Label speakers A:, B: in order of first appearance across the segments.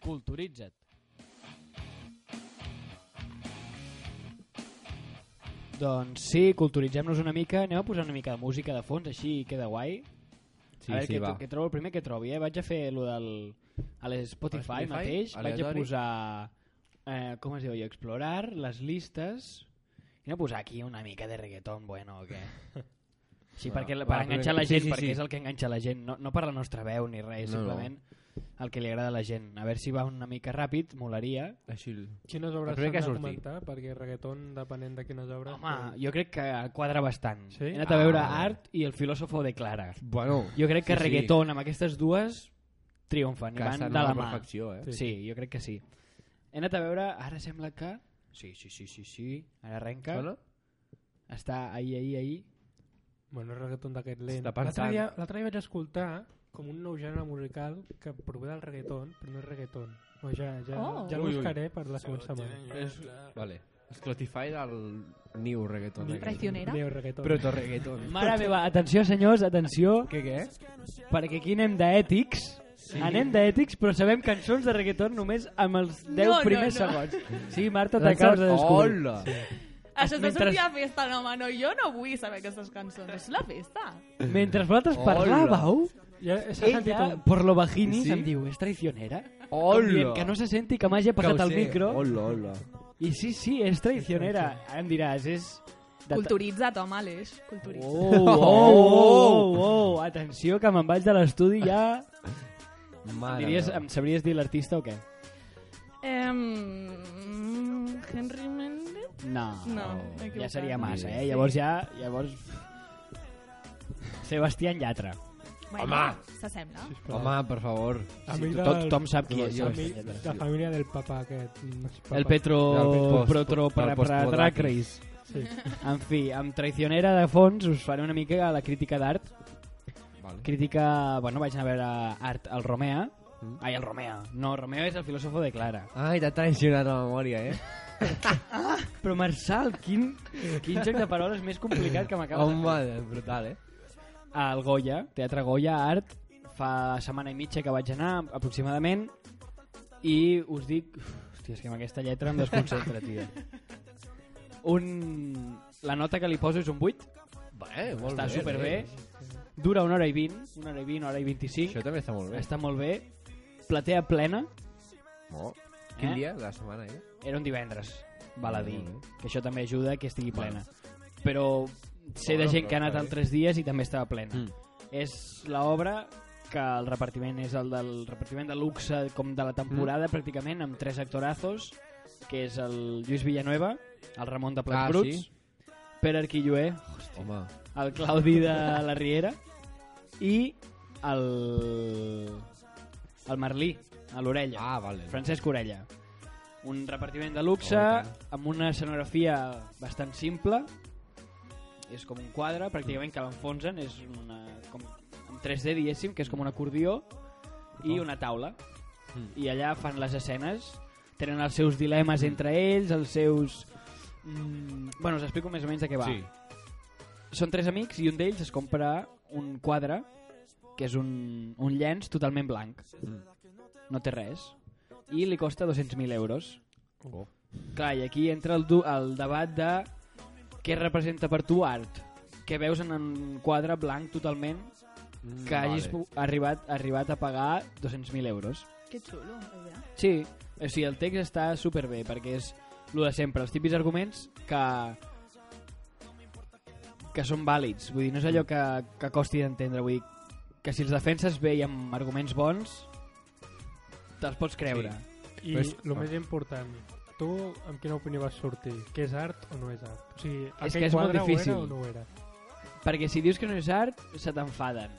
A: Culturitza't. Doncs sí, culturitzem-nos una mica, anem a posar una mica de música de fons, així queda guai.
B: Sí,
A: a veure,
B: sí,
A: que,
B: va.
A: que trobo el primer que trobi, eh? Vaig a fer lo del... A les Spotify,
B: Spotify,
A: mateix, vaig a
B: aleatori.
A: posar... Eh, com es diu jo? Explorar les listes... I no posar aquí una mica de reggaeton, bueno, o què? Sí,
B: Bueno,
A: perquè, la-
B: va,
A: per enganxar la
B: sí,
A: gent,
B: sí,
A: perquè
B: sí.
A: és el que enganxa la gent, no, no per la nostra veu ni res,
B: No, no.
A: simplement el que li agrada a la gent. A veure si va una mica ràpid, molaria.
B: Així... el-
C: Quines
B: El
C: obres
B: primer
C: s'han
B: que
C: de
B: ha sortit.
C: comentar? Perquè reggaeton, depenent de quines obres...
A: Home,
C: doncs-
A: jo crec que quadra bastant.
C: Sí?
A: He anat a veure
B: Ah.
A: Art i el filòsofo de Clara.
B: Bueno,
A: Jo crec que
B: sí, sí.
A: reggaeton amb aquestes dues triomfen i
B: que
A: van
B: estan
A: de
B: a
A: la
B: la
A: mà.
B: perfecció, eh?
A: Sí. sí, jo crec que sí. He anat a veure, ara sembla que... Sí, sí, sí, sí, sí. Ara arrenca.
B: Sona?
A: Està ahí, ahí, ahí.
C: Bueno, és reggaeton d'aquest lent.
B: Està pensant.
C: L'altre dia, l'altre dia vaig escoltar com un nou gènere musical que prové del reggaeton, però no és reggaeton. Bueno, ja, ja,
D: Oh.
C: ja el
B: Ui, ui.
C: buscaré per la següent setmana.
B: És... Vale. Spotify del New ¿eh? Reggaeton.
D: Ni traicionera.
C: Neo reggaeton.
B: Proto Reggaeton.
A: Mare meva, atenció senyors, atenció,
B: Què, què?
A: perquè aquí anem d'ètics, sí. anem d'ètics, però sabem cançons de reggaeton només amb els 10
D: No, no,
A: primers
D: no.
A: segons. Sí, Marta, t'acabes de descobrir.
B: Hola!
D: Això és de
A: Mentre-
D: sortir a festa, no, home, no, jo no vull saber aquestes cançons. És la festa.
A: Mentre vosaltres parlàveu,
C: Ja s'ha sentit
A: ella,
C: un...
A: por lo bajini, sí?
B: Sí?
A: em diu, és traicionera? Com
B: Hola!
A: dient que no se senti que m'hagi
B: Que ho
A: passat el
B: sé.
A: micro.
B: Hola, hola.
A: I sí, sí, és traicionera. Ara em diràs, és... de-
D: Culturitza't, home, Aleix. Culturitza't.
A: Oh, oh, oh, oh, oh, atenció, que me'n vaig de l'estudi ja...
B: Mare
A: Diries,
B: meva.
A: em sabries dir l'artista o què? Oh.
D: Em... mm, Henry Mendel?
A: No.
D: No, m'he
A: Oh, ja
D: equivocat.
A: seria massa,
B: Sí.
A: eh? Llavors ja... Llavors... Sebastián Llatra.
D: Bueno, home! S'assembla.
B: Home, per favor.
C: A
A: Sí,
C: mi
A: to-
C: del-
A: tothom sap qui és
C: a mi,
A: Sebastián Llatra.
C: la família del papa aquest. mm, papa.
A: El Petro
B: Del post-
A: Protro
B: del
A: per
B: postmodernisme.
A: Dracris.
C: Sí.
A: En fi, amb Traicionera de fons us faré una mica la crítica d'art.
B: Vale.
A: Crítica... Bueno, vaig anar a veure art al Romea.
B: Mm.
A: Ai, el Romea. No, Romea és el filòsofo de Clara.
B: Ai, t'ha traicionat la memòria, eh?
A: Però Marçal, quin, quin joc de paraules més complicat que m'acabes de fer.
B: Home, Oh, brutal, eh?
A: al Goya, Teatre Goya Art, fa setmana i mitja que vaig anar, aproximadament, i us dic... Hòstia, és que amb aquesta lletra em desconcentra, tio. Un... La nota que li poso és un 8,
B: Bé, molt
A: està
B: bé.
A: superbé,
B: eh?
A: dura una hora i 20, una hora i 20, una hora i 25,
B: Això també està molt bé.
A: està molt bé, platea plena,
B: Oh. Quin
A: Eh?
B: dia de la setmana, eh?
A: era un divendres, val a dir,
B: Molt bé.
A: que això també ajuda que estigui plena. Però sé de
B: Bueno,
A: gent
B: però
A: que ha anat
B: està bé.
A: altres dies i també estava plena.
B: Mm.
A: és l'obra que el repartiment és el del repartiment de luxe com de la temporada mm. pràcticament amb tres actorazos que és el Lluís Villanueva el Ramon de Plats
B: Ah,
A: Bruts
B: sí?
A: Pere Arquilloé
B: Home,
A: el Claudi de la Riera i el el Merlí a l'orella
B: ah, vale.
A: Francesc Orella un repartiment de luxe
B: Oh, i tant.
A: amb una escenografia bastant simple és com un quadre pràcticament que l'enfonsen és una, com, en 3D diguéssim que és com un acordió i
B: Oh.
A: una taula
B: Mm.
A: i allà fan les escenes tenen els seus dilemes entre ells els seus mm, bueno, us explico més o menys de què va
B: Sí.
A: són tres amics i un d'ells es compra un quadre que és un, un llenç totalment blanc
B: Mm.
A: no té res i li costa 200.000 euros
B: Oh.
A: Clar, i aquí entra el, du- el debat de què representa per tu art. Què veus en un quadre blanc totalment
B: Mm,
A: que hagis pu- arribat, arribat a pagar 200.000 euros?
D: Que xulo, la idea.
A: Sí, o sigui, el text està superbé perquè és el de sempre, els típics arguments que que són vàlids, vull dir, no és allò que, que costi d'entendre, vull dir, que si els defenses bé i amb arguments bons, te'ls pots creure.
C: I
B: Però és-
C: el més important, tu amb quina opinió vas sortir? Que és art o no és art? O sigui, aquell
A: que és molt
C: quadre ho
A: difícil.
C: era o no ho era?
A: Perquè si dius que no és art, se t'enfaden.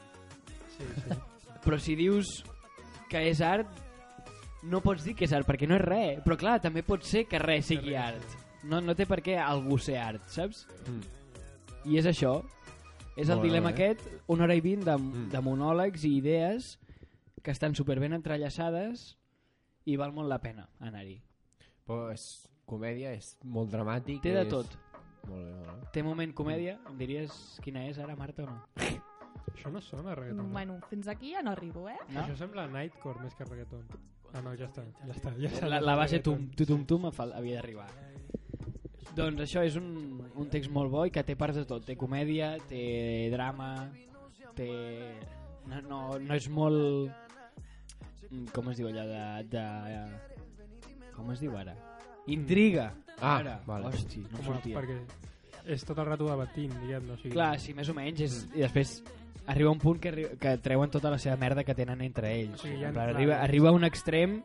C: Sí, sí.
A: però si dius que és art no pots dir que és art perquè no és res però clar, també pot ser que res sigui
C: res
A: art no, no té per què algú ser art, saps?
B: Mm.
A: i és això és el
B: Molt bé,
A: dilema
B: eh?
A: aquest, una hora i vint de,
B: Mm.
A: de monòlegs i idees que estan superben entrellaçades i val molt la pena anar-hi
B: Però és comèdia, és molt dramàtic.
A: té de
B: és-
A: tot,
B: Molt bé, molt bé.
A: té moment comèdia em diries quina és ara Marta o no?
C: Això no sona a reggaeton.
D: Bueno, fins aquí ja no arribo, eh?
A: No?
C: Això sembla nightcore més que reggaeton. Ah, no, ja està. Ja està, ja està
A: La, la base tum, tu, tum, tum em fal- havia d'arribar. Doncs això és un, un text molt bo i que té parts de tot. Té comèdia, té drama, té... No, no, no és molt... mm, Com es diu allò de... de... Com es diu ara? Intriga.
B: Ah,
A: ara.
B: vale.
A: Hosti, no em
C: Com a,
A: sortia.
C: perquè és tot el rato debatint, diguem-ne. O sigui,
A: Clar, sí, més o menys. És, I després arriba un punt que, arri- que treuen tota la seva merda que tenen entre ells.
C: Sí,
A: Sí,
C: ja
A: ja
C: en-
A: arriba,
C: clar.
A: arriba a un extrem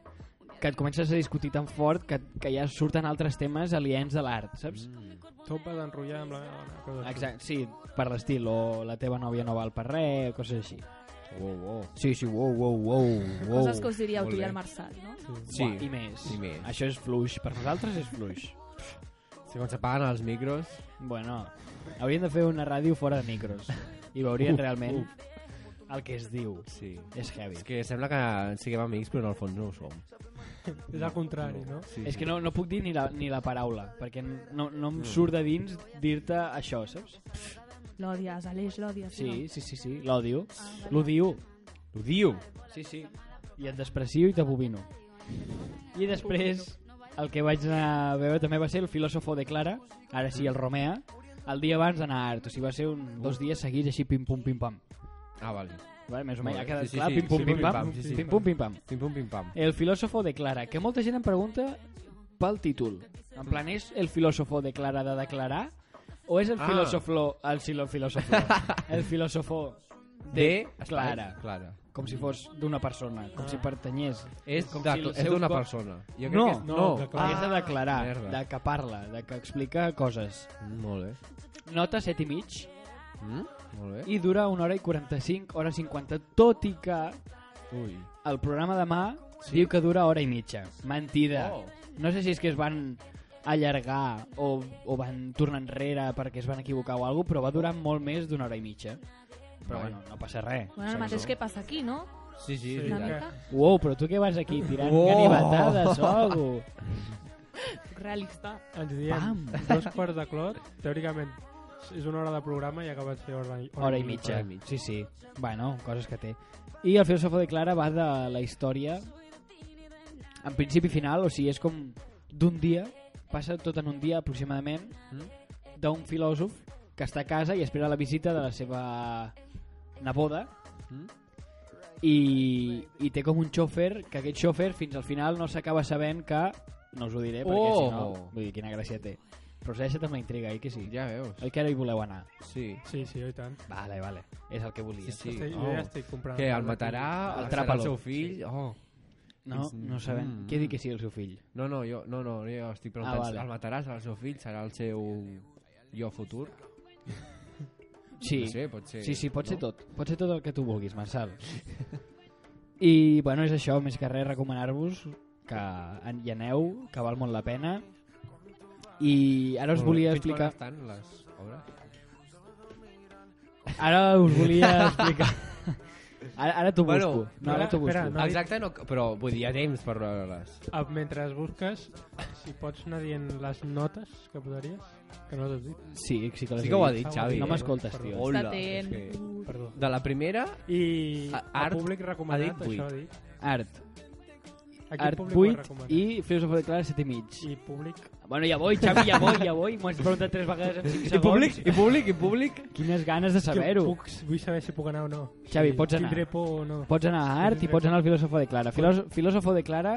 A: que et comences a discutir tan fort que, que ja surten altres temes aliens de l'art, saps?
B: Mm.
C: Tot va d'enrotllar amb la meva dona. coses així.
A: Exacte, sí, per l'estil, o la teva nòvia no val per res, o coses així.
B: Wow, wow.
A: Sí, sí, wow, wow, wow, wow.
D: Coses que us diríeu
B: molt
D: tu i
B: bé.
D: el Marçal, no?
A: Sí.
B: Sí.
A: I més.
B: I més.
A: Això és fluix, per nosaltres és fluix.
B: Si quan s'apaguen els micros...
A: Bueno, hauríem de fer una ràdio fora de micros i veurien realment el que es diu.
B: Sí.
A: És heavy.
B: És que sembla que siguem amics, però en el fons no ho som.
C: És al contrari, no?
B: Sí,
A: És
B: sí.
A: que no, no puc dir ni la, ni la paraula, perquè no, no em surt de dins dir-te això, saps?
D: L'odies, Aleix, l'odies.
A: Sí, sí, sí, sí, l'odio.
D: Ah,
A: L'odio.
B: Ho diu!
A: Sí, sí. I et desprecio i t'abobino. I després, el que vaig anar a veure també va ser el filòsofo de Clara, ara sí, el Romea, el dia abans d'anar a Art, o sigui, va ser un, dos dies seguits així pim-pum-pim-pam.
B: Ah, vale.
A: Vale, més o
B: Molt
A: menys, ha
B: bé.
A: quedat
B: Sí, sí,
A: clar,
B: sí, sí,
A: pim-pum-pim-pam,
B: pim-pam, sí, sí.
A: pim-pum-pim-pam.
B: Pim pum pim pam.
A: El filósofo declara, que molta gent em pregunta pel títol. En plan, és el filósofo declara de declarar o és el
B: Ah.
A: filósofo... El, silo, filósofo, el filósofo de, Clara.
B: Clara.
A: Com si fos d'una persona, com
B: Ah.
A: si pertanyés.
B: És
A: com
B: de-
A: el
B: és
A: seu
B: d'una
A: cor-
B: persona. Jo crec
A: No,
B: que és-
C: no, de
B: Ah,
C: Clara.
A: és de declarar,
B: merda.
A: de que parla, de que explica coses.
B: Mm, Molt bé.
A: Nota 7 i mig
B: Mm? Molt bé.
A: i dura una hora i 45, hora 50, tot i que
B: Ui.
A: el programa demà diu que dura hora i mitja. Mentida.
B: Oh.
A: No sé si és que es van allargar o, o van tornar enrere perquè es van equivocar o alguna cosa, però va durar molt més d'una hora i mitja. Però
B: Vai.
A: bueno, no passa res.
D: Bueno, el mateix que passa aquí, no?
B: Sí, sí, és
C: Sí,
B: veritat.
C: que-
A: Uou, però tu què vas aquí tirant
B: Uou!
A: oh! ganivetades o algo?
D: Realista.
C: Ens diem
A: Pam!
C: dos quarts de clot, teòricament és una hora de programa i acaba de ser hora, i-
A: Hora i mitja.
B: i mitja.
A: Sí, sí. Bueno, coses que té. I el filòsofo de Clara va de la història en principi i final, o sigui, és com d'un dia, passa tot en un dia aproximadament, d'un filòsof que està a casa i espera la visita de la seva neboda,
B: Mm?
A: i, i té com un xòfer que aquest xòfer fins al final no s'acaba sabent que no us ho diré perquè
B: Oh!
A: si no vull dir quina gràcia té però us deixa amb la intriga oi que sí?
B: Ja veus.
A: oi que ara hi voleu anar?
B: Sí.
C: Sí, sí, oi tant.
A: vale, vale és el que volia
B: Sí, sí.
C: Estic, jo
B: Oh.
C: ja estic comprant.
B: Que el matarà,
A: El
B: el serà
A: tràpalo.
B: el seu fill... Oh.
A: no, no sabem
B: Mm.
A: què diu que sí el seu fill
B: No, no, jo, no, no, jo estic preguntant.
A: Ah, vale.
B: El matarà, serà el seu fill, serà el seu jo futur.
A: sí,
B: No sé, pot ser...
A: sí, sí pot
B: no?
A: ser tot pot ser tot el que tu vulguis Marçal i bueno és això més que res recomanar-vos que en- hi aneu que val molt la pena i ara us
B: Molt bé.
A: volia
B: Fins quan
A: explicar
B: estan les obres?
A: Ara us volia explicar... Ara, ara t'ho
B: Bueno,
A: busco. No, ara
C: espera,
A: t'ho busco.
C: espera, No,
B: Exacte, no, però vull dir, hi ha temps per veure-les.
C: Ah, Mentre es busques, si pots anar dient les notes que posaries, que no t'has dit,
A: Sí, sí que, les
B: Sí que ho
A: he
B: ha
A: dit.
B: dit, Xavi.
A: No
B: eh?
A: m'escoltes, tio.
B: Hola,
D: Està atent.
B: és que-
C: perdó.
B: De la primera,
C: I
B: A-
C: a
B: Art
C: públic
B: ha
C: recomanat,
B: dit vuit.
C: això ha dit.
A: Art.
C: A quin
A: Art
C: públic ho ha
A: 8
C: recomanat?
A: i Filosofo de Clara 7 i mig.
C: I públic...
A: Bueno, ja voy, Xavi, ja voy, ja voy. M'ho has preguntat tres vegades en 5 segons.
B: I públic, i públic, i públic.
A: Quines ganes de
C: Jo
A: saber-ho.
C: Puc, vull saber si puc anar o no.
A: Xavi,
C: Si
A: pots anar.
C: Tindré por o no.
A: Pots anar a Art i pots anar al Filosofo de Clara. Filos- Filosofo de Clara,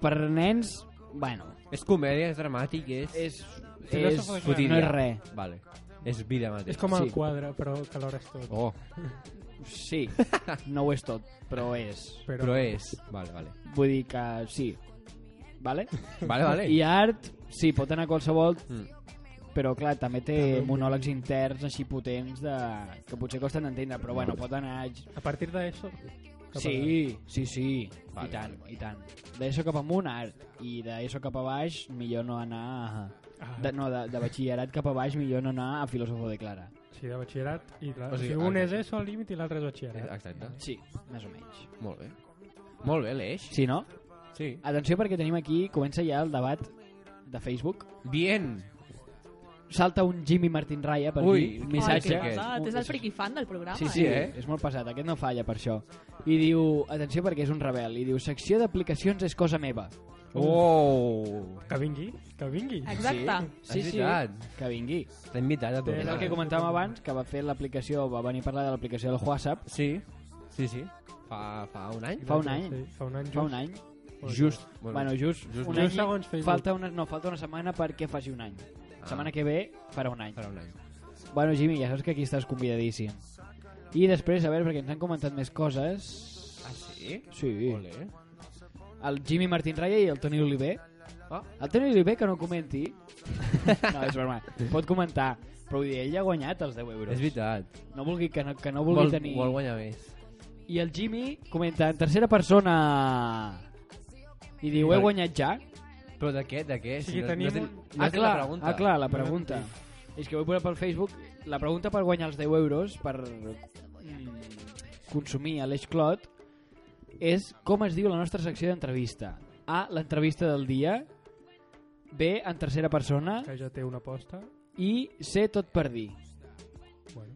A: per nens, bueno,
B: És comèdia, és dramàtic, és...
A: és... és
C: Filòsofo de Clara.
A: no és res.
B: Vale. És vida mateix.
C: És com el
A: Sí.
C: quadre, però que l'hora és tot.
B: Oh,
A: Sí, no ho és tot, però és.
B: però, però eh. és... Vale, vale.
A: Vull dir que sí. Vale?
B: Vale, Eh, vale.
A: I art, sí, pot anar a qualsevol,
B: Mm.
A: però clar, també té monòlegs interns així potents de... que potser costen d'entendre, però bueno, pot anar...
C: A partir d'això...
A: Sí, sí, sí,
B: Vale,
A: i tant, i tant. D'ESO cap amunt, art, i d'ESO cap a baix, millor no anar... A... De, no, de, de batxillerat cap a baix, millor no anar a filòsofo de Clara.
C: Sí, de batxillerat. I la...
B: O
C: o
B: sigui,
C: sigui, un
B: ah,
C: és ESO al límit i l'altre és batxillerat.
B: Exacte.
A: Sí, més o menys.
B: Molt bé. Molt bé, l'eix.
A: Sí, no?
B: Sí.
A: Atenció perquè tenim aquí, comença ja el debat de Facebook.
B: Bien.
A: salta un Jimmy Martin Raya per
B: Ui,
A: aquí, un
B: que
A: missatge.
D: Oh, que pesat.
A: Un-
D: És el friqui fan del programa.
A: Sí, sí,
B: Sí,
A: eh?
B: eh?
A: és molt pesat, aquest no falla per això. I diu, atenció perquè és un rebel, i diu, secció d'aplicacions és cosa meva.
B: Oh!
C: Que vingui, que vingui.
D: Exacte.
A: Sí,
B: és
A: sí.
B: veritat.
A: Que vingui.
B: T'ha invitat a tu.
C: Té
A: És el que comentàvem abans, que va fer l'aplicació, va venir a parlar de l'aplicació del WhatsApp
B: Sí, sí, sí. Fa, fa un any?
A: Fa un any.
C: Sí, fa un any.
A: fa un any.
B: Just.
A: Bueno, just,
B: just
A: un
C: just
A: any.
C: segons Facebook.
A: Falta una, no, falta una setmana perquè faci un any.
B: Ah.
A: Setmana que ve farà un any.
B: Farà un any.
A: Bueno, Jimmy, ja saps que aquí estàs convidadíssim. I després, a veure, perquè ens han comentat més coses...
B: Ah, sí?
A: Sí.
B: Olé.
A: El Jimmy Martín Raya i el Toni Oliver.
B: Ah.
A: El Toni Oliver, que no comenti... no, és broma. Pot comentar. Però vull dir, ell ja ha guanyat els 10 euros.
B: És veritat.
A: No vulgui que no, que no vulgui
B: Vol,
A: tenir...
B: vol guanyar més.
A: I el Jimmy comenta en tercera persona... I diu, he guanyat ja?
B: Però de què? De què?
C: O sigui, tenim
B: ten-
C: un-
B: no
A: ah,
B: has fet
A: clar,
B: la pregunta.
A: ah, clar, la pregunta. És que vull posar pel Facebook la pregunta per guanyar els 10 euros per mm, consumir a l'Eix Clot és com es diu la nostra secció d'entrevista. A, l'entrevista del dia. B, en tercera persona.
C: Que ja té una aposta.
A: I C, tot per dir.
C: Bueno.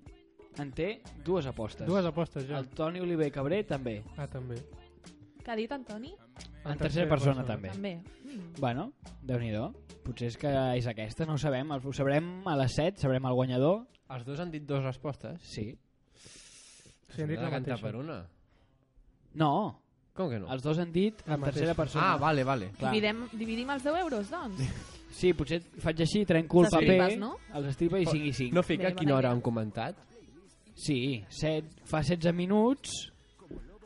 A: En té dues apostes.
C: Dues apostes ja.
A: El Toni Oliver i Cabré també.
C: Ah, també.
D: Què ha dit Antoni?
A: En, tercera persona, també.
D: També. Mm.
A: Bueno, déu nhi Potser és que és aquesta, no ho sabem. Ho sabrem a les 7, sabrem el guanyador.
B: Els dos han dit dues respostes.
A: Sí.
C: Sí, han dit
B: S'ha de
C: la
B: cantar
C: mateixa.
B: per una.
A: No,
B: Com que no?
A: Els dos han dit
C: La
A: en tercera
C: mateixa.
A: persona.
B: Ah, vale, vale.
A: Clar.
D: Dividem, dividim els 10 euros, doncs.
A: Sí, potser faig així, trenco el paper,
D: S'estripes, no?
A: els estripa i 5 i 5.
B: No fica
D: Bé,
B: a quina
D: bona
B: hora
D: idea.
B: han comentat?
A: Sí, set, fa 16 minuts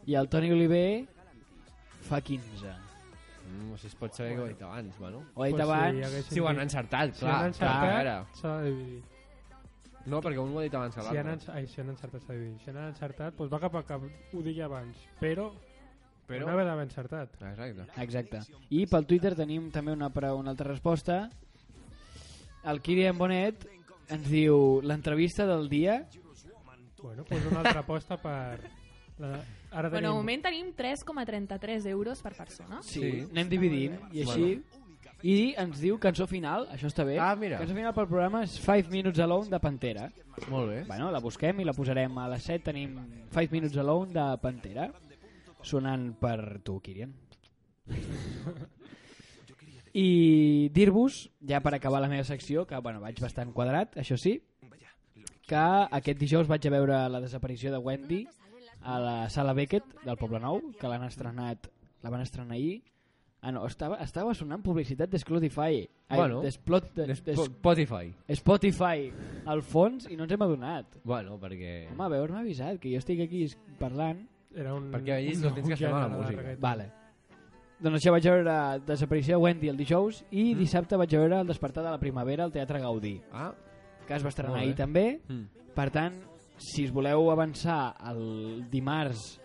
A: i el Toni Oliver fa 15.
B: Mm, si es pot saber que ho he dit abans, bueno.
A: Ho he dit
C: Pues sí,
A: abans,
C: haguessin
B: Si ho han
C: dit-
B: encertat,
C: Si
B: clar.
C: han
B: clar, a
C: encertat,
B: veure.
C: s'ha de dividir.
B: No, perquè un ho ha dit abans que
C: Si han,
B: l'altre.
C: encertat, ai, si han encertat, s'ha de dividir. Si han encertat, doncs va cap a cap, ho digui abans. Però, però...
B: Però...
C: una vegada encertat.
B: Exacte.
A: exacte. I pel Twitter tenim també una, pre- una altra resposta. El Kirian Bonet ens diu l'entrevista del dia.
C: Bueno, doncs una altra aposta per... La... Ara
D: Bueno,
C: tenim...
D: de moment tenim 3,33 euros per persona.
A: Sí,
B: Sí.
A: anem dividint i així... I ens diu cançó final, això està bé.
B: Ah, mira.
A: Cançó final pel programa és 5 Minutes Alone de Pantera.
B: Molt bé.
A: Bueno, la busquem i la posarem a les 7. Tenim 5 Minutes Alone de Pantera, sonant per tu, Kirian. I dir-vos, ja per acabar la meva secció, que bueno, vaig bastant quadrat, això sí, que aquest dijous vaig a veure la desaparició de Wendy a la sala Beckett del Poble Nou, que l'han estrenat, la van estrenar ahir. Ah, no, estava, estava sonant publicitat d'Sclotify. Ai,
B: Bueno,
A: d'Splot- d'Spo-
B: Spotify.
A: Spotify al fons i no ens hem adonat.
B: Bueno, perquè...
A: Home, veure m'ha avisat que jo estic aquí es- parlant.
C: Era un...
B: Perquè ells no tens que estar amb la música.
A: Vale. Doncs això vaig veure Desaparició de Wendy el dijous i mm. dissabte vaig veure El despertar de la primavera al Teatre Gaudí,
B: Ah,
A: que es va estrenar
B: Molt bé.
A: ahir també.
B: mm.
A: Per tant, si us voleu avançar el dimarts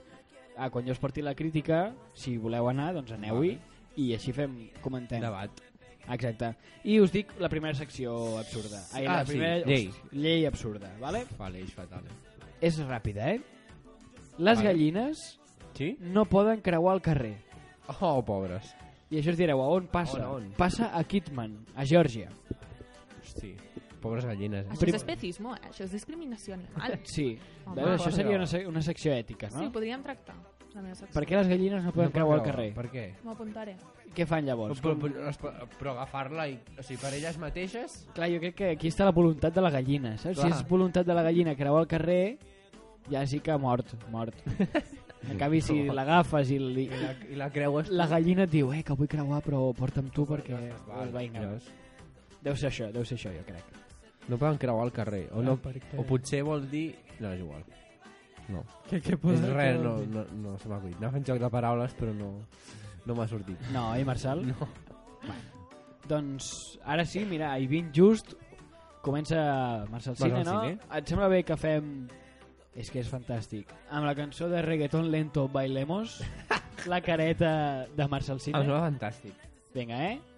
A: a quan jo es porti la crítica, si voleu anar, doncs aneu-hi i així fem, comentem.
B: debat.
A: Exacte. I us dic la primera secció absurda. Ai,
B: Ah,
A: la
B: sí,
A: primera
B: llei.
A: llei absurda, vale?
B: Vale, és fatal. eh.
A: És ràpida, eh? Les
B: Vale.
A: gallines
B: Sí?
A: no poden creuar el carrer.
B: Oh, pobres.
A: I això us direu, a on passa?
B: On, on?
A: Passa a Kitman, a Geòrgia.
B: Hosti. Pobres gallines, eh?
D: Això
A: Prim-
D: és especisme, eh? això és discriminació animal.
A: Sí.
D: Home.
A: Veus, això seria una, sec- una secció ètica,
D: Sí,
A: no?
D: podríem tractar. La meva secció.
A: Per què les gallines no poden creuar el carrer?
B: Per què?
D: M'ho apuntaré.
A: Què fan
B: Però,
A: llavors?
B: però, però, però, però agafar-la i... O sigui, per elles mateixes...
A: Clar, jo crec que aquí està la voluntat de la gallina, saps?
B: Clar.
A: Si és voluntat de la gallina creuar el carrer, ja sí que mort, mort. En canvi, si l'agafes i li...
B: I la, i la creues...
A: La gallina et diu, eh, que vull creuar, però porta'm tu perquè...
B: Val,
A: Vinga.
B: veus?
A: Deu ser això, deu ser això, jo crec.
B: No poden creuar el carrer. O, no,
C: perquè...
B: o potser vol dir... No, és igual. No.
C: Què, què
B: És
C: poden-
B: res,
C: què
B: no,
C: poden dir?
B: no, no se m'ha acudit. Anava fent joc de paraules, però no, no m'ha sortit.
A: No, eh, Marçal?
B: No.
A: Doncs ara sí, mira, i vint just comença Marçal Cine,
B: Marçal
A: no?
B: Cine.
A: Et sembla bé que fem... És que és fantàstic. Amb la cançó de reggaeton lento Bailemos, la careta de Marçal
B: Em
A: Cine.
B: sembla Ah, fantàstic.
A: Vinga, eh?